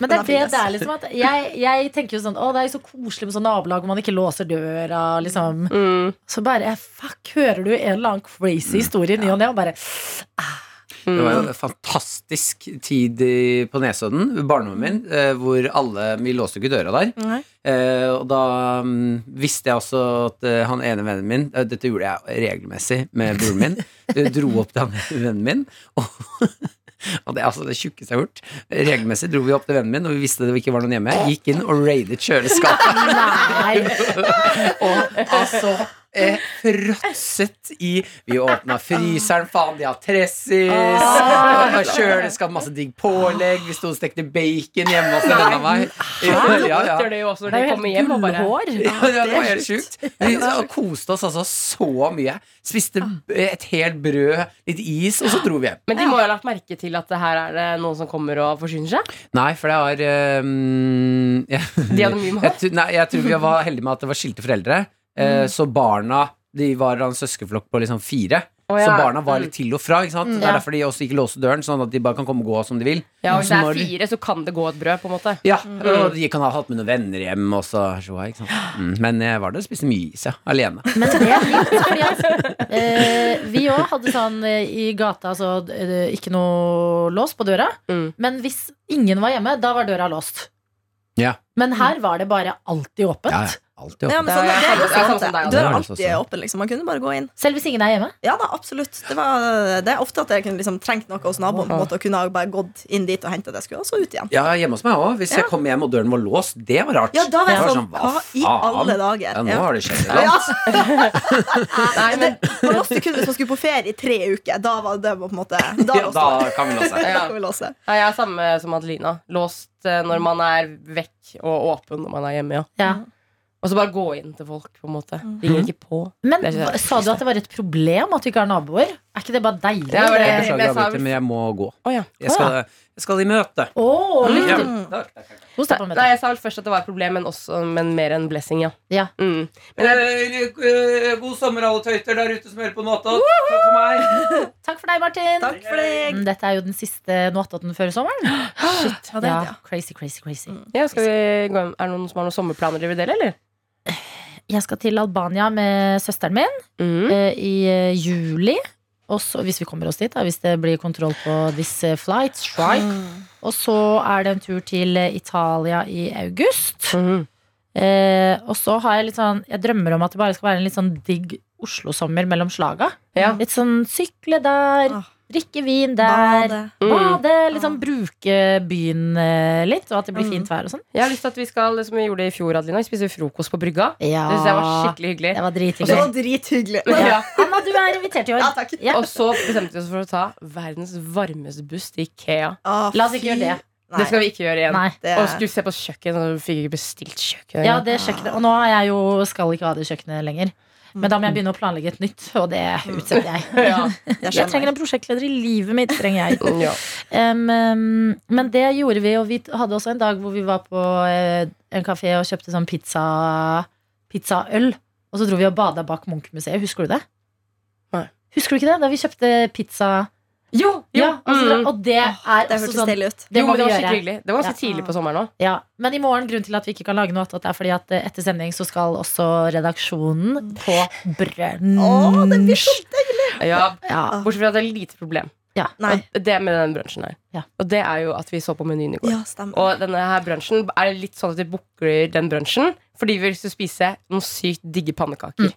S3: Den er
S4: det
S3: fin,
S4: det
S3: ass.
S4: er liksom at jeg, jeg tenker jo sånn Å, det er jo så koselig med sånn nabolag hvor man ikke låser døra, liksom.
S2: Mm.
S4: Så bare Fuck, hører du en eller annen crazy historie i ny og ne, og bare
S5: Det var jo en fantastisk tid i- på Nesodden, barndommen min, eh, hvor alle Vi låste jo ikke døra der.
S3: Nei.
S5: Eh, og da mm, visste jeg også at eh, han ene vennen min eh, Dette gjorde jeg regelmessig med broren min. eh, dro opp til han ene vennen min. Og, og det er altså det tjukkeste jeg har gjort. Regelmessig dro vi opp til vennen min, og vi visste det ikke var noen hjemme. Gikk inn og raidet kjøleskapet.
S4: Nei.
S5: Og altså eh, fråtset i Vi åpna fryseren, faen, de har tressis.
S4: Ah.
S5: Ah. Kjøleskap, masse digg pålegg. Vi sto og stekte bacon hjemme hos en venn av meg. Ja, ja.
S2: Det Ah, er jo også
S4: Det
S2: når
S4: er
S2: de
S4: jo
S2: kommer
S4: helt
S2: hjem og bare
S4: gullhår.
S5: Ja, det var helt sjukt. Vi koste oss altså så mye. Spiste
S2: Ah.
S5: b- et helt brød, litt is, og så dro vi hjem.
S2: Men de må jo ha lagt merke til at det her er det noen som kommer og forsyner seg.
S5: Nei, for det har ehm, jeg,
S2: De hadde mye
S5: jeg,
S2: mat.
S5: tr- nei, jeg tror vi var heldige med at det var skilte foreldre.
S2: Mm.
S5: eh, Så barna De var av en søskenflokk på liksom fire.
S2: Å,
S5: Så
S2: ja.
S5: barna var
S2: Mm.
S5: litt til og fra. Ikke sant? Det
S4: Ja.
S5: er derfor de også ikke låste døren, sånn at de bare kan komme og gå som de vil.
S2: Ja, og Hvis det
S5: Så når-
S2: er fire, så kan det gå et brød, på en måte.
S5: Ja, og De kan ha hatt med noen venner hjem. Og så, så, ikke sant? Mm. Men jeg var der og spiste mye is, ja. Alene.
S4: Men det er fint, fordi at eh, vi òg hadde sånn eh, i gata, altså eh, ikke noe lås på døra.
S2: Mm.
S4: Men hvis ingen var hjemme, da var døra låst.
S5: Ja.
S4: Men her var det bare alltid åpent.
S5: Ja, ja. Alltid
S3: Ja,
S5: åpen.
S3: men sånn,
S2: Det er
S3: det, er jo
S2: sant, det er sånn
S3: sant,
S2: som deg,
S3: det.
S5: altså.
S3: Døra
S5: Det er
S3: er
S5: det
S3: alltid
S5: sånn.
S3: åpen, liksom. Man kunne bare gå inn.
S4: Selv hvis ingen er hjemme.
S3: Ja da, absolutt. Det, var, det er ofte at jeg kunne liksom trengt noe hos naboen på en måte, og kunne ha bare gått inn dit og henta det jeg skulle, og så ut igjen.
S5: Ja, hjemme hos meg òg. Hvis jeg kom hjem og døren var låst, det var rart.
S3: Ja, da var jeg
S5: Det
S3: sånn, hva i alle dager?
S5: Ja, nå
S3: Ja.
S5: har det skjedd.
S3: Ja,
S5: Ja.
S3: altså,
S2: Nei, Ah, men,
S3: det, man låste kun hvis man skulle på ferie i tre uker. Da var det på en måte Da
S5: Ja,
S3: låste
S5: da
S3: man.
S5: kan vi låse.
S3: Da
S2: Ja.
S3: kan vi låse.
S2: ja, jeg er samme som Adelina. Låst eh, når man er vekk, og åpen når man er hjemme. Ja.
S4: Ja.
S2: Og så bare gå inn til folk, på en måte. Ringer ikke på.
S4: Men
S2: Det er ikke det.
S4: sa du at det var et problem at du ikke har naboer? Er ikke det bare deilig?
S2: Ja, det var det.
S5: Jeg beklager,
S2: jeg sa-
S5: avbryter, men jeg må gå.
S2: Å, ja.
S5: Jeg skal, jeg skal i møte.
S4: Åh, lykke
S5: Ja.
S4: til.
S3: Mm.
S4: Kos deg på
S2: Nei,
S4: middag.
S2: jeg sa vel først at det var et problem, men, også, men mer en blessing, ja.
S4: Ja.
S2: Mm.
S5: eh, God sommer, alle tøyter der ute som hører på Nåta. Takk for meg.
S4: Takk for deg, Martin.
S3: Takk for deg.
S4: Mm, Dette er jo den siste Noatodden før sommeren.
S3: Ja, det, er det, ja.
S4: Crazy, crazy, crazy.
S2: Ja, skal vi gå inn? Er det noen som har noen sommerplaner de vil dele, eller?
S4: Jeg skal til Albania med søsteren min
S2: Mm.
S4: eh, i eh, juli. Og så, hvis vi kommer oss dit, da, hvis det blir kontroll på this eh, flight
S3: Mm.
S4: strike. Og så er det en tur til eh, Italia i august.
S2: Mhm.
S4: Eh, og så har jeg litt sånn Jeg drømmer om at det bare skal være en litt sånn digg Oslo-sommer mellom slaga.
S2: Ja.
S4: Litt sånn sykle der,
S3: Ah.
S4: drikke vin
S3: Bade.
S4: der,
S2: Mm.
S4: bade. Liksom bruke byen eh, litt, og at det blir
S3: Mm.
S4: fint vær og sånn.
S2: Jeg har lyst til at vi skal, som vi gjorde i fjor, Adelina, vi spiser frokost på brygga.
S4: Ja,
S2: Det synes jeg var skikkelig hyggelig.
S4: det var
S3: Altså, Det
S4: drithyggelig.
S3: var drithyggelig.
S4: Ja. Anna, du er invitert i år.
S3: Ja, takk.
S4: Ja.
S2: Og så bestemte vi oss for å ta verdens varmeste buss til Ikea.
S3: Ah,
S4: La oss ikke
S3: fy-
S4: gjøre det.
S3: Nei,
S2: Det skal vi ikke gjøre igjen.
S4: Nei.
S3: det-
S2: Og skulle se på kjøkken, og vi fikk ikke bestilt kjøkken.
S4: Ja, det kjøkkenet. Og nå er jeg jo, skal ikke ha det kjøkkenet lenger.
S3: mm.
S4: Men da må jeg begynne å planlegge et nytt, og det utsetter jeg.
S2: Ja.
S3: jeg
S4: Jeg trenger
S3: skjønner.
S4: en prosjektleder i livet mitt. trenger jeg
S2: Mm, Ja.
S4: Em, em, Men det gjorde vi, og vi hadde også en dag hvor vi var på eh, en kafé og kjøpte sånn pizza pizzaøl. Og så dro vi og bada bak Munch-museet. Husker du det?
S2: Nei.
S4: Husker du ikke det? Da vi kjøpte pizza
S2: Jo, jo.
S4: Ja, og, så, dra-
S2: mm.
S4: og det er
S3: Det
S4: også
S3: hørtes
S4: sånn
S3: deilig ut.
S4: Det
S2: jo, men det
S4: må vi
S2: var
S4: gjøre.
S2: skikkelig hyggelig. Det var ganske
S4: Ja.
S2: tidlig på sommeren òg.
S4: Ja, Men i morgen, grunnen til at vi ikke kan lage noe attåt, er fordi at eh, etter sending så skal også
S2: Mm.
S4: redaksjonen på brunch.
S3: Å, det blir så
S2: Ja.
S4: ja.
S2: Bortsett fra at det er lite problem.
S3: Nei.
S2: Og Det med den brunsjen her.
S4: Ja.
S2: Og det er jo at vi så på menyen i går.
S3: Ja, stemmer.
S2: Og denne her brunsjen er litt sånn at vi booker den brunsjen fordi vi vil spise noen sykt digge
S3: Mm.
S2: pannekaker.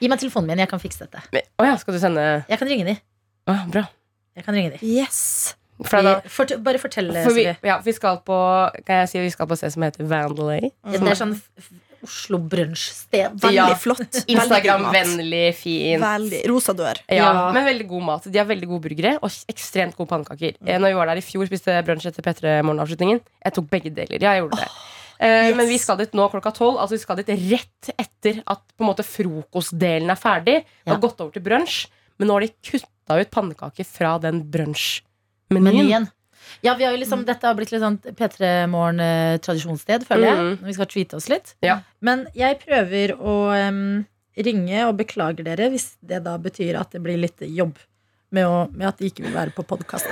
S4: Gi meg telefonen min, jeg kan fikse dette.
S2: Men- Å ja, skal du sende
S4: Jeg kan ringe de.
S2: Å, Bra.
S4: Jeg kan ringe de.
S3: Yes.
S2: For da,
S4: Vi- fort- bare fortell,
S2: for vi,
S4: Sofie.
S2: ja, vi skal på Kan jeg si vi skal på et sted som heter Vandelay?
S4: Ja, Det er sånn f- f- Oslo brunsjsted.
S3: Veldig
S2: Ja.
S3: flott. Veldig god mat.
S2: Instagram-vennlig, fin.
S3: Veldig. Rosa dør.
S2: Ja,
S4: Ja.
S2: Men veldig god mat. De har veldig gode burgere og ekstremt gode pannekaker.
S4: Mm.
S2: Eh, Når vi var der i fjor, spiste jeg brunsj etter P3-morgenavslutningen. Jeg tok begge deler. Ja, jeg gjorde det. Eh,
S3: yes.
S2: Men vi skal dit nå klokka tolv. Altså vi skal dit rett etter at på en måte, frokostdelen er ferdig. Det
S4: Ja.
S2: har gått over til brunsj, men nå har de kutta ut pannekaker fra den brunsjmenyen.
S4: Menyen. Ja, vi har jo liksom, Dette har blitt litt sånn P3 Morgen-tradisjonssted, eh, føler jeg.
S2: Mm.
S4: Når vi skal tweete oss litt.
S2: Ja.
S4: Men jeg prøver å em, ringe og beklager dere hvis det da betyr at det blir litt jobb med, å, med at de ikke vil være på podkast.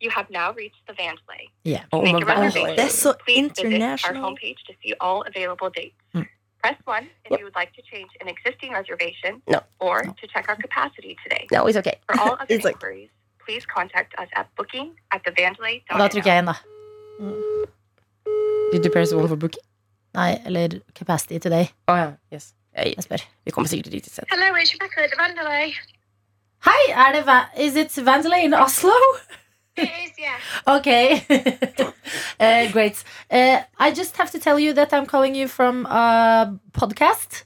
S6: You have now reached the Vandalay.
S2: Oh,
S6: Make
S2: men
S6: a
S2: hva-
S6: reservation.
S3: That's so
S6: Please visit our
S3: international.
S6: homepage to see all available dates. Press 1 if you would like to change an existing reservation
S2: No.
S6: or to check our capacity today.
S2: No, it's okay.
S6: For all other
S3: It's like-
S6: inquiries, please contact us at booking at the
S4: Og da trykker jeg inn, da.
S2: Did you press one for booking?
S4: Nei, eller Capacity Today.
S2: Å ja. Yes. Jeg,
S4: Jeg spør.
S2: vi kommer sikkert dit isteden.
S6: Hello, it's Rebecca at the Vandalay.
S4: Hei, er det Va Is it Vandalay in Oslo?
S6: It is, yeah.
S4: Ok. Eh, great. Eh, I just have to tell you that I'm calling you from a podcast.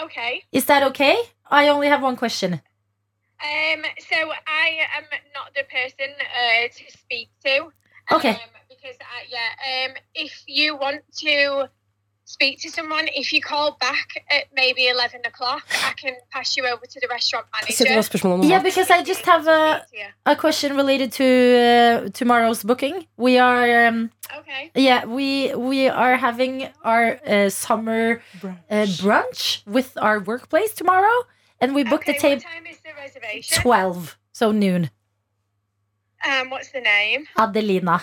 S7: Okay.
S4: Is that okay? I only have one question.
S7: Um, so I am not the person uh, to speak to.
S4: Okay.
S7: Um, because I, yeah, um, if you want to speak to someone, if you call back at maybe eleven o'clock, I can pass you over to the restaurant
S2: Se på
S7: manager.
S2: hva spørsmålet om
S4: Yeah,
S2: mat.
S4: because I just have a,
S7: Speak to you.
S4: a question related to uh, tomorrow's booking. We are um,
S7: Okay.
S4: yeah we we are having our uh, summer uh, brunch with our workplace tomorrow, and we booked
S7: okay,
S4: the table
S7: What time is the reservation?
S4: twelve, so noon.
S7: um, what's the name?
S4: Adelina.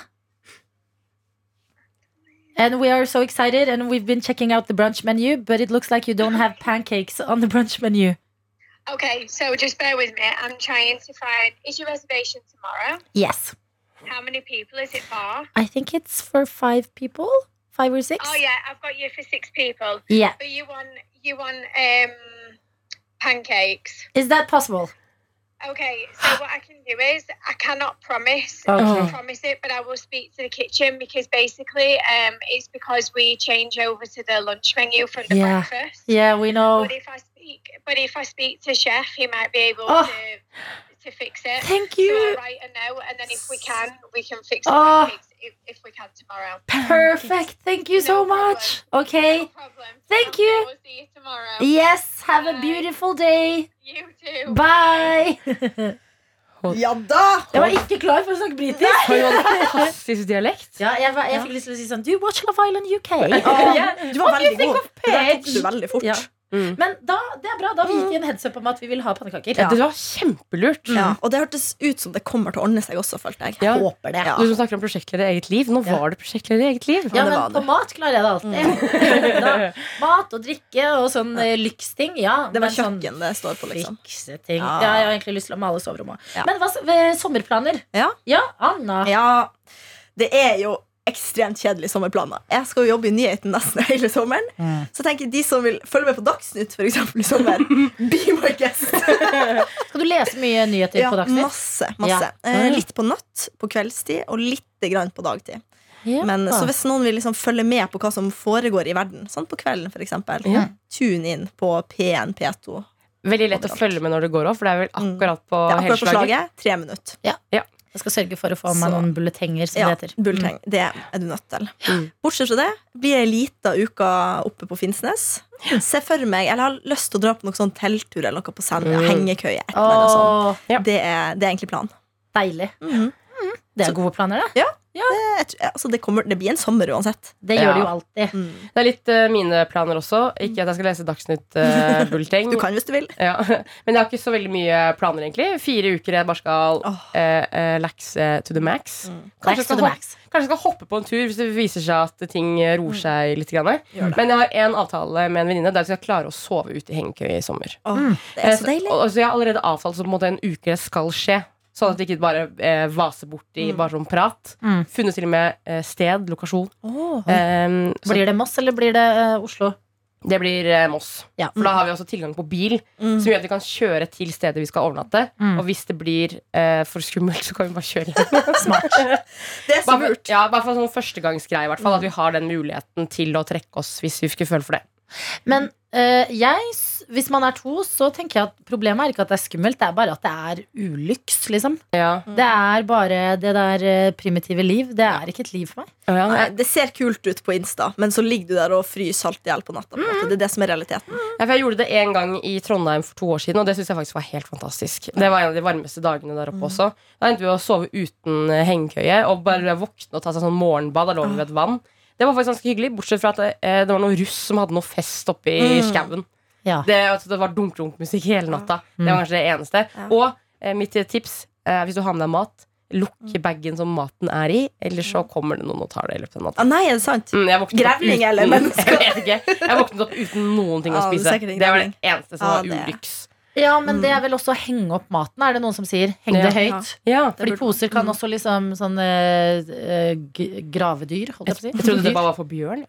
S4: And we are so excited, and we've been checking out the brunch menu, but it looks like you don't have pancakes on the brunch menu.
S7: Okay, so just bear with me. I'm trying to find. Is your reservation tomorrow?
S4: Yes.
S7: How many people is it for?
S4: I think it's for five people, five or six.
S7: Oh yeah, I've got you for six people.
S4: Yeah.
S7: But you want you want um pancakes.
S4: Is that possible?
S7: Okay, so what I can do is I cannot promise I
S4: Okay.
S7: can't promise it, but I will speak to the kitchen because basically um it's because we change over to the lunch menu from the
S4: Yeah.
S7: breakfast.
S4: Yeah, we know.
S7: But if I speak but if I speak to chef he might be able
S4: Oh.
S7: to to fix it.
S4: Thank
S7: So I'll
S4: you.
S7: write a note and then if we can we can fix the
S4: Oh.
S7: pancakes if, if we can tomorrow.
S4: Perfect. Thank you so
S7: No problem.
S4: much. Okay.
S7: No problem.
S4: Thank
S7: Okay,
S4: you.
S7: We'll see you tomorrow.
S4: Yes. Have a
S7: Bye.
S4: beautiful day.
S7: You too.
S4: Bye. Jeg
S3: Ja da!
S4: var ikke klar for å snakke britisk.
S2: Har jo en fantastisk dialekt.
S4: Ja, jeg, var, jeg fikk lyst til å si sånn Do you watch Love Island UK?
S3: Du var veldig god. Det der tok du
S4: Paige?
S3: veldig fort.
S4: Ja.
S3: Ja.
S2: Mm.
S4: Men da, det er bra. Da vi gikk i en heads up om at vi vil ha pannekaker.
S2: Det var kjempelurt.
S3: Og det hørtes ut som det kommer til å ordne seg også, følte jeg.
S2: Mm. Ja.
S4: Håper det.
S3: Ja.
S2: Du som snakker om prosjektleder i eget liv. Nå
S4: Ja.
S2: var det prosjektleder i eget liv.
S4: Ja,
S3: det Mm.
S4: men
S3: var
S4: på
S3: det.
S4: mat klarer jeg det alltid. da, mat og drikke og sånn eh, lyksting. Ja,
S3: Det var
S4: men sånn
S3: kjøkken det står på, liksom.
S4: Fikse ting. Ja.
S3: Ja.
S4: jeg har egentlig lyst til å male soverommet òg.
S3: Ja.
S4: Men hva, s- ved sommerplaner?
S3: Ja.
S4: Anna.
S3: Ja, det er jo ekstremt kjedelige sommerplaner. Jeg skal jo jobbe i nyheten nesten hele sommeren. Så jeg tenker de som vil følge med på Dagsnytt for eksempel, i sommer, be my guest.
S4: Skal du lese mye nyheter
S3: Ja,
S4: på Dagsnytt?
S3: masse. masse. Eh, litt på natt, på kveldstid, og lite grann på dagtid.
S4: Ja.
S3: Men så hvis noen vil liksom følge med på hva som foregår i verden, sånn på kvelden for eksempel,
S2: Ja.
S3: tune inn på P1, P2.
S2: Veldig lett å
S3: Overalt.
S2: følge med når det går òg, for det er vel akkurat på
S3: Mm. Det er akkurat på
S2: helslaget.
S3: slaget. Tre minutter.
S4: Jeg skal sørge for å få
S3: Så-
S4: meg noen bulletenger, som
S3: Ja,
S4: det heter. Mm.
S3: Bulleteng. Det er du nødt til.
S2: Mm.
S3: Bortsett fra det blir ei lita uke oppe på Finnsnes. Se for meg, eller har lyst til å dra på noen sånn telttur eller noe på Senja.
S2: Mm.
S3: Hengekøye. Et eller annet sånt.
S4: Åh,
S2: Ja.
S3: Det, er, det er egentlig planen.
S4: deilig.
S3: Mhm.
S4: Det er gode planer, det.
S3: Det- jeg tror- altså, det, kommer, det blir en sommer uansett.
S4: Det gjør
S2: Ja.
S4: det jo alltid.
S3: Mm.
S2: Det er litt eh, mine planer også. Ikke at jeg skal lese Dagsnytt-bulleteng.
S3: Du kan hvis du vil.
S2: ja. Men jeg har ikke så veldig mye planer, egentlig. Fire uker jeg bare skal
S3: Åh.
S2: eh, eh, lakse to the max.
S3: Mm.
S2: Kanskje jeg
S4: Max to
S2: skal
S4: the
S2: hoppe-
S4: max.
S2: Kanskje jeg skal hoppe på en tur hvis det viser seg at ting
S3: Mm.
S2: roer seg litt. Grann. Men jeg har en avtale med en venninne der vi skal klare å sove ute i hengekøye i sommer.
S3: Åh, Det
S2: Eh,
S3: er så
S2: så-
S3: deilig.
S2: og- og så jeg har allerede avtalt så på en måte en uke det skal skje. Sånn at det ikke bare eh, vaser bort i bare sånn prat.
S4: Mm.
S2: Funnet til og med eh, sted, lokasjon.
S3: Åh.
S2: Eh, så
S4: Blir det Moss, eller blir det eh, Oslo? Mm.
S2: det blir eh, Moss.
S4: Ja.
S2: For da har vi også tilgang på bil,
S3: Mm.
S2: som gjør at vi kan kjøre til stedet vi skal overnatte.
S4: Mm.
S2: Og hvis det blir eh, for skummelt, så kan vi bare kjøre hjem.
S3: Det er så
S2: Bare,
S3: lurt.
S2: for- ja, bare for sånn førstegangsgreie, i hvert
S3: Mm.
S2: fall. At vi har den muligheten til å trekke oss hvis vi skulle føle for det.
S4: Men eh, jeg, s- hvis man er to, så tenker jeg at problemet er ikke at det er skummelt, det er bare at det er ulyks, liksom.
S2: Ja.
S4: Det er bare det der eh, primitive liv. Det er ikke et liv for meg.
S2: Ja,
S3: Nei,
S2: jeg,
S3: Eh, Det ser kult ut på Insta, men så ligger du der og fryser halvt i hjel på natta. på en
S2: Mm.
S3: måte. Det er det som er realiteten.
S2: ja, for jeg gjorde det en gang i Trondheim for to år siden, og det syns jeg faktisk var helt fantastisk. Det var en av de varmeste dagene der oppe også. Da endte vi å sove uten eh, hengekøye og bare våkne og ta seg sånn morgenbad. Da lå vi ved et vann. Det var faktisk ganske hyggelig, bortsett fra at det, eh, det var noen russ som hadde noe fest oppe i skauen.
S4: Ja.
S2: Det, altså, det var dunk-dunk-musikk hele natta. Det var kanskje det eneste. Og eh, mitt tips, eh, hvis du har med deg mat, lukk bagen som maten er i, eller så kommer det noen og tar det i løpet av natta.
S3: Ah, nei, er det sant?
S2: Mm, jeg våknet opp
S3: Grevling
S2: uten-
S3: eller menneske?
S2: Jeg vet ikke. Jeg våknet opp uten noen ting å
S3: Ja, det er
S2: spise.
S3: sikkert en
S2: Det var det
S3: grevling.
S2: eneste som
S3: Ja,
S2: var
S3: det er.
S2: ulyks.
S4: Ja, men det er vel også å henge opp maten, er det noen som sier. Heng det
S2: Ja.
S4: høyt.
S2: Ja.
S3: Det
S4: Fordi
S3: burde man.
S4: poser kan også liksom sånn eh, eh, g- gravedyr, holdt jeg
S2: Jeg,
S4: på å si.
S2: jeg trodde det bare var for bjørn.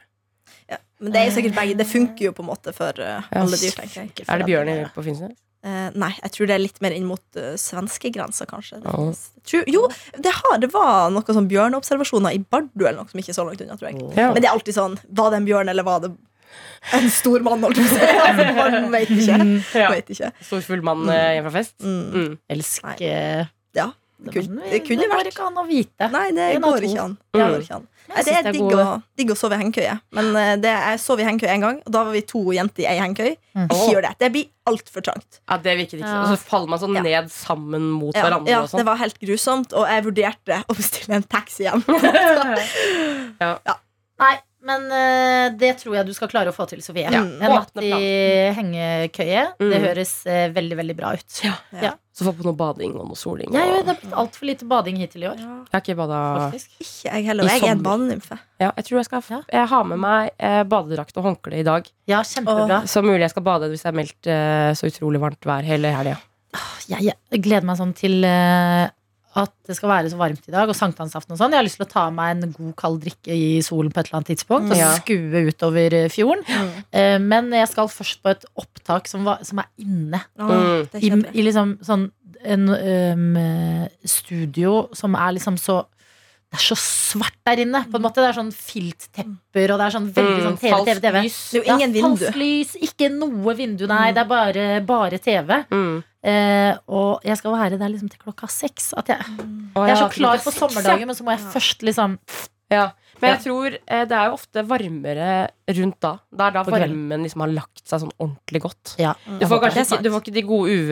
S3: Ja. Men det er jo
S2: Eh.
S3: sikkert begge. Det funker jo på en måte for eh, alle dyr, tenker jeg.
S2: Er det bjørn i- på Finnsnes?
S3: Eh, nei, jeg tror det er litt mer inn mot uh, svenskegrensa, kanskje. Det
S2: Ja.
S3: finnes- jeg tror, jo, det, har, det var noen sånn bjørneobservasjoner i Bardu eller noe som ikke er så langt unna, tror jeg.
S2: Ja.
S3: Men det er alltid sånn Var det en bjørn, eller var det En stor mann, holdt jeg på å si. Altså, man vet ikke.
S4: Mm.
S2: Ja.
S3: Vet ikke.
S2: Stor, full mann eh, hjemme fra fest.
S3: Mm.
S2: Mm.
S4: Elsk
S3: Nei.
S4: eh,
S3: Ja, det kunne, det kunne
S4: det går
S3: vært
S4: ikke an å vite.
S3: Nei, det
S4: En av
S3: går
S4: to.
S3: ikke an.
S2: Mm.
S3: Det går ikke an. Nei, det er digg å, digg å sove i hengekøye. Men eh, det, jeg sov i hengekøye en gang, og da var vi to jenter i ei hengekøy.
S4: Mm.
S3: Ikke gjør det. Det blir altfor trangt.
S2: Ja, det virket ikke
S4: Ja.
S2: sånn. Og så faller man sånn
S3: Ja.
S2: ned sammen mot
S3: Ja,
S2: hverandre
S3: ja,
S2: og
S3: det
S2: sånn.
S3: var helt grusomt, og jeg vurderte å bestille en taxi hjem.
S4: Nei, men eh, det tror jeg du skal klare å få til, Sofie.
S3: Ja.
S4: En natt
S2: Åpne
S4: i
S2: plan.
S4: hengekøye. Det
S2: Mm.
S4: høres eh, veldig, veldig bra ut.
S2: Ja. Så få på noe bading og noe soling.
S4: Jeg,
S2: og...
S4: det har blitt altfor lite bading hittil i år.
S2: Jeg har ikke bada
S4: Faktisk.
S3: Ikke jeg heller.
S2: I
S3: Jeg er en
S2: sommer.
S3: badenymfe.
S2: ja, Jeg tror jeg skal
S4: Ja.
S2: Jeg har med meg eh, badedrakt og håndkle i dag.
S4: Ja, kjempebra.
S2: Så mulig jeg skal bade hvis det er meldt eh, så utrolig varmt vær hele helga.
S4: Jeg, jeg gleder meg sånn til eh, at det skal være så varmt i dag, og sankthansaften og sånn. Jeg har lyst til å ta meg en god, kald drikke i solen på et eller annet tidspunkt og
S2: Ja.
S4: skue utover eh, fjorden.
S3: Mm.
S4: Eh, Men jeg skal først på et opptak som, var, som er inne.
S3: Å,
S2: Mm.
S3: det er
S4: I,
S3: kjedelig.
S4: i liksom sånn en øhm, eh, studio som er liksom så det er så svart der inne. på en
S3: Mm.
S4: måte Det er sånn filttepper og det er sånn veldig
S2: Mm.
S4: sånn TV, TV, TV.
S2: lys.
S3: Det er jo ingen
S4: ja,
S3: vindu. Mm.
S4: falskt lys, ikke noe vindu, nei. Det er bare, bare TV.
S2: Mm.
S4: Eh, og jeg skal være der liksom til klokka seks. At jeg,
S2: Å,
S3: Mm.
S4: jeg er
S2: ja,
S4: så klar
S2: klokka
S4: for
S2: seks, ja.
S4: sommerdagen, men så må jeg
S3: Ja.
S4: først liksom
S2: Men jeg tror eh, det er jo ofte varmere rundt da. Det er da
S4: På kvelden.
S2: varmen liksom har lagt seg sånn ordentlig godt.
S4: ja.
S2: Du får kanskje
S3: Det er
S2: ikke, du får ikke de gode UV,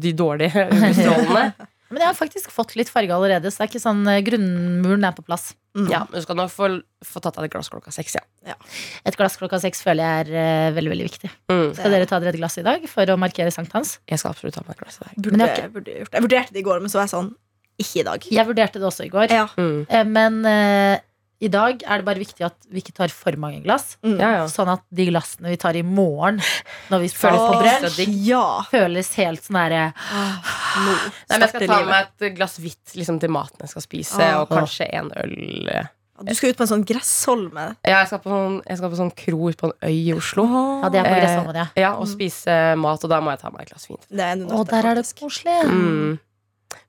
S2: de dårlige UV-strålene.
S4: Men jeg har faktisk fått litt farge allerede, så det er ikke sånn eh, grunnmuren er på plass.
S3: Mm.
S2: Ja, men du skal nok få, få tatt deg et glass klokka seks, ja.
S4: Et glass klokka seks føler jeg er eh, veldig veldig viktig.
S2: Mm.
S4: Skal dere ta dere et glass i dag for å markere sankthans?
S2: Jeg skal absolutt ta meg et glass i dag.
S3: Burde,
S4: Men jeg har
S3: burde gjort. det. Jeg vurderte det i går, men så var jeg sånn Ikke i dag.
S4: Jeg vurderte det også i går.
S3: Ja.
S2: Mm.
S4: Eh, Men eh, i dag er det bare viktig at vi ikke tar for mange glass.
S3: Mm.
S2: Ja, ja.
S4: Sånn at de glassene vi tar i morgen, når vi
S2: Føles
S4: føles på
S3: Åh,
S4: brunch,
S3: Ja.
S4: føles helt sånn derre
S3: Nå
S2: Nei, men jeg
S3: starter
S2: skal ta
S3: livet.
S2: med et glass hvitt liksom, til maten jeg skal spise,
S3: Ah.
S2: og kanskje en øl. Ja,
S3: Du skal ut på en sånn gressholme.
S2: jeg skal på sånn, jeg skal på sånn kro ute på en øy i Oslo.
S4: Ja, det er på
S2: Eh,
S4: Gressholmen, ja.
S2: Ja, og spise mat, og da må jeg ta meg et glass fint.
S3: Det er en
S4: Å,
S3: nøtt,
S4: der er det
S3: faktisk.
S4: koselig.
S2: Mm.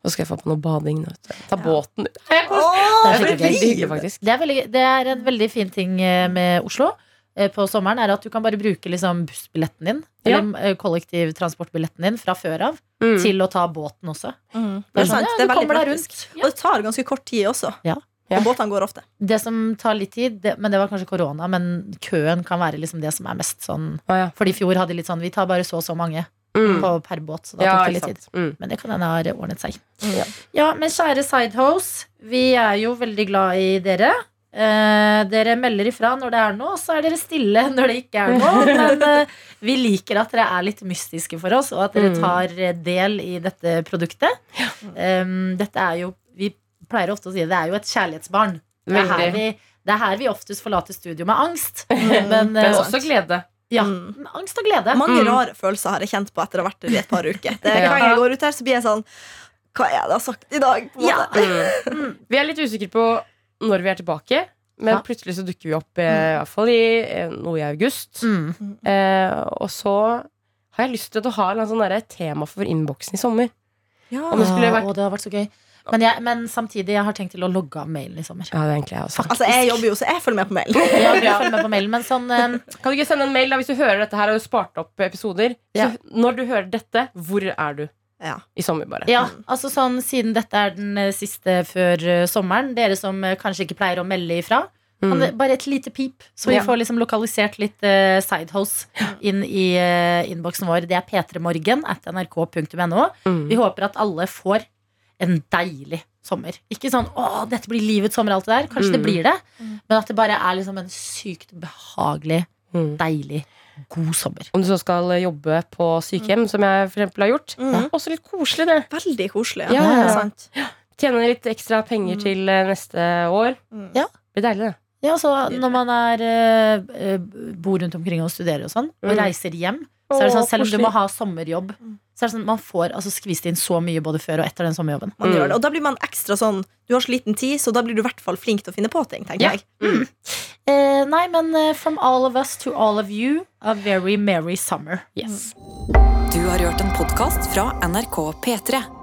S2: Så skal jeg få på noe bading. nå, vet du. Ta
S3: Ja.
S2: båten ut. Nei, jeg koser-
S3: Åh,
S4: Det
S2: Det
S4: er skikkelig
S2: er veldig
S3: liv.
S2: hyggelig, faktisk.
S4: Det er, veldig, det er en veldig fin ting eh, med Oslo eh, på sommeren, er at du kan bare bruke liksom bussbilletten din,
S2: Ja.
S4: eller eh, kollektivtransportbilletten din fra før av,
S2: Mm.
S4: til å ta båten også.
S3: Mm.
S4: Det
S3: Det
S4: er
S3: er
S4: sånn,
S3: sant.
S4: ja,
S3: Det er
S4: du
S3: veldig
S4: kommer deg
S3: praktisk. Og
S4: rundt.
S3: det tar ganske kort tid også.
S4: Ja.
S2: Ja.
S3: Og båtene går ofte.
S4: Det som tar litt tid, det, men det var kanskje korona, men køen kan være liksom det som er mest sånn
S2: Å, ja.
S4: Fordi i fjor hadde de litt sånn Vi tar bare så og så mange
S2: Mm.
S4: på, per båt, så da
S2: Ja,
S4: tok det
S2: ikke
S4: litt tid.
S2: sant. Mm.
S4: Men det kan hende har ordnet seg.
S3: Mm.
S4: Ja. men kjære sidehose, vi er jo veldig glad i dere. Eh, dere melder ifra når det er noe, og så er dere stille når det ikke er noe. Men eh, vi liker at dere er litt mystiske for oss, og at dere
S2: Mm.
S4: tar eh, del i dette produktet. Eh, dette er jo Vi pleier ofte å si det er jo et kjærlighetsbarn. Det er her
S2: Veldig.
S4: vi, det er her vi oftest forlater studio med angst. Men, eh,
S2: Men også glede.
S4: ja,
S3: Mm.
S4: med angst og glede.
S3: Mange
S2: Mm.
S3: rare følelser har jeg kjent på etter å ha vært der i et par uker. Det,
S2: Ja.
S3: Hver gang jeg går ut her, så blir jeg sånn Hva er det jeg har sagt i dag? På en
S4: Ja.
S3: måte.
S2: Mm. Vi er litt usikre på når vi er tilbake, men
S4: Ja.
S2: plutselig så dukker vi opp eh, i hvert fall i eh, noe i august.
S4: Mm.
S2: Eh, og så har jeg lyst til å ha en sånn derre tema for innboksen i sommer.
S3: Ja.
S2: Om det skulle
S4: Ja,
S2: vært-
S4: å, det har vært så gøy. Men, jeg, men samtidig, jeg har tenkt til å logge av mailen i sommer.
S2: Ja, det er egentlig jeg også.
S3: Altså, jeg jobber jo, så jeg følger med på mailen.
S4: Ja, vi følger med på mailen, men sånn eh,
S2: Kan du ikke sende en mail da hvis du hører dette her og du har spart opp episoder?
S4: Ja.
S2: Så når du hører dette, hvor er du
S3: Ja.
S2: i sommer, bare?
S4: Ja, altså sånn siden dette er den eh, siste før eh, sommeren, dere som eh, kanskje ikke pleier å melde ifra, kan
S2: Mm.
S4: det, bare et lite pip, så vi
S2: Ja.
S4: får liksom lokalisert litt eh, sidehose inn i eh, innboksen vår. Det er p3morgen at nrk.no. Vi
S2: Mm.
S4: håper at alle får en deilig sommer. Ikke sånn 'Å, dette blir livets sommer', alt det der. Kanskje det
S2: Mm.
S4: blir det. Men at det bare er liksom en sykt behagelig,
S2: Mm.
S4: deilig, god sommer.
S2: Om du så skal eh, jobbe på sykehjem, som jeg for eksempel har gjort.
S3: Mm.
S2: Ja, Også litt koselig, det.
S3: Veldig koselig.
S2: Ja, ja, ja.
S3: Det er sant.
S2: Tjene litt ekstra penger
S3: Mm.
S2: til eh, neste år.
S3: Mm.
S4: Ja.
S2: Blir deilig, det.
S4: Ja, så når man er, eh, eh, bor rundt omkring og studerer og sånn, og
S2: Mm.
S4: reiser hjem, så er det sånn,
S2: Å,
S4: selv om du
S2: koselig.
S4: må ha sommerjobb, så er det sånn, man får altså, skvist inn så mye både før og etter den sommerjobben.
S3: Man
S2: Mm.
S3: gjør det. Og da blir man ekstra sånn Du har så liten tid, så da blir du i hvert fall flink til å finne på ting, tenker
S2: Ja.
S3: jeg.
S4: Eh, nei, men eh, from all of us to all of you, a very merry summer.
S2: Yes.
S1: Du har hørt en podkast fra NRK P3.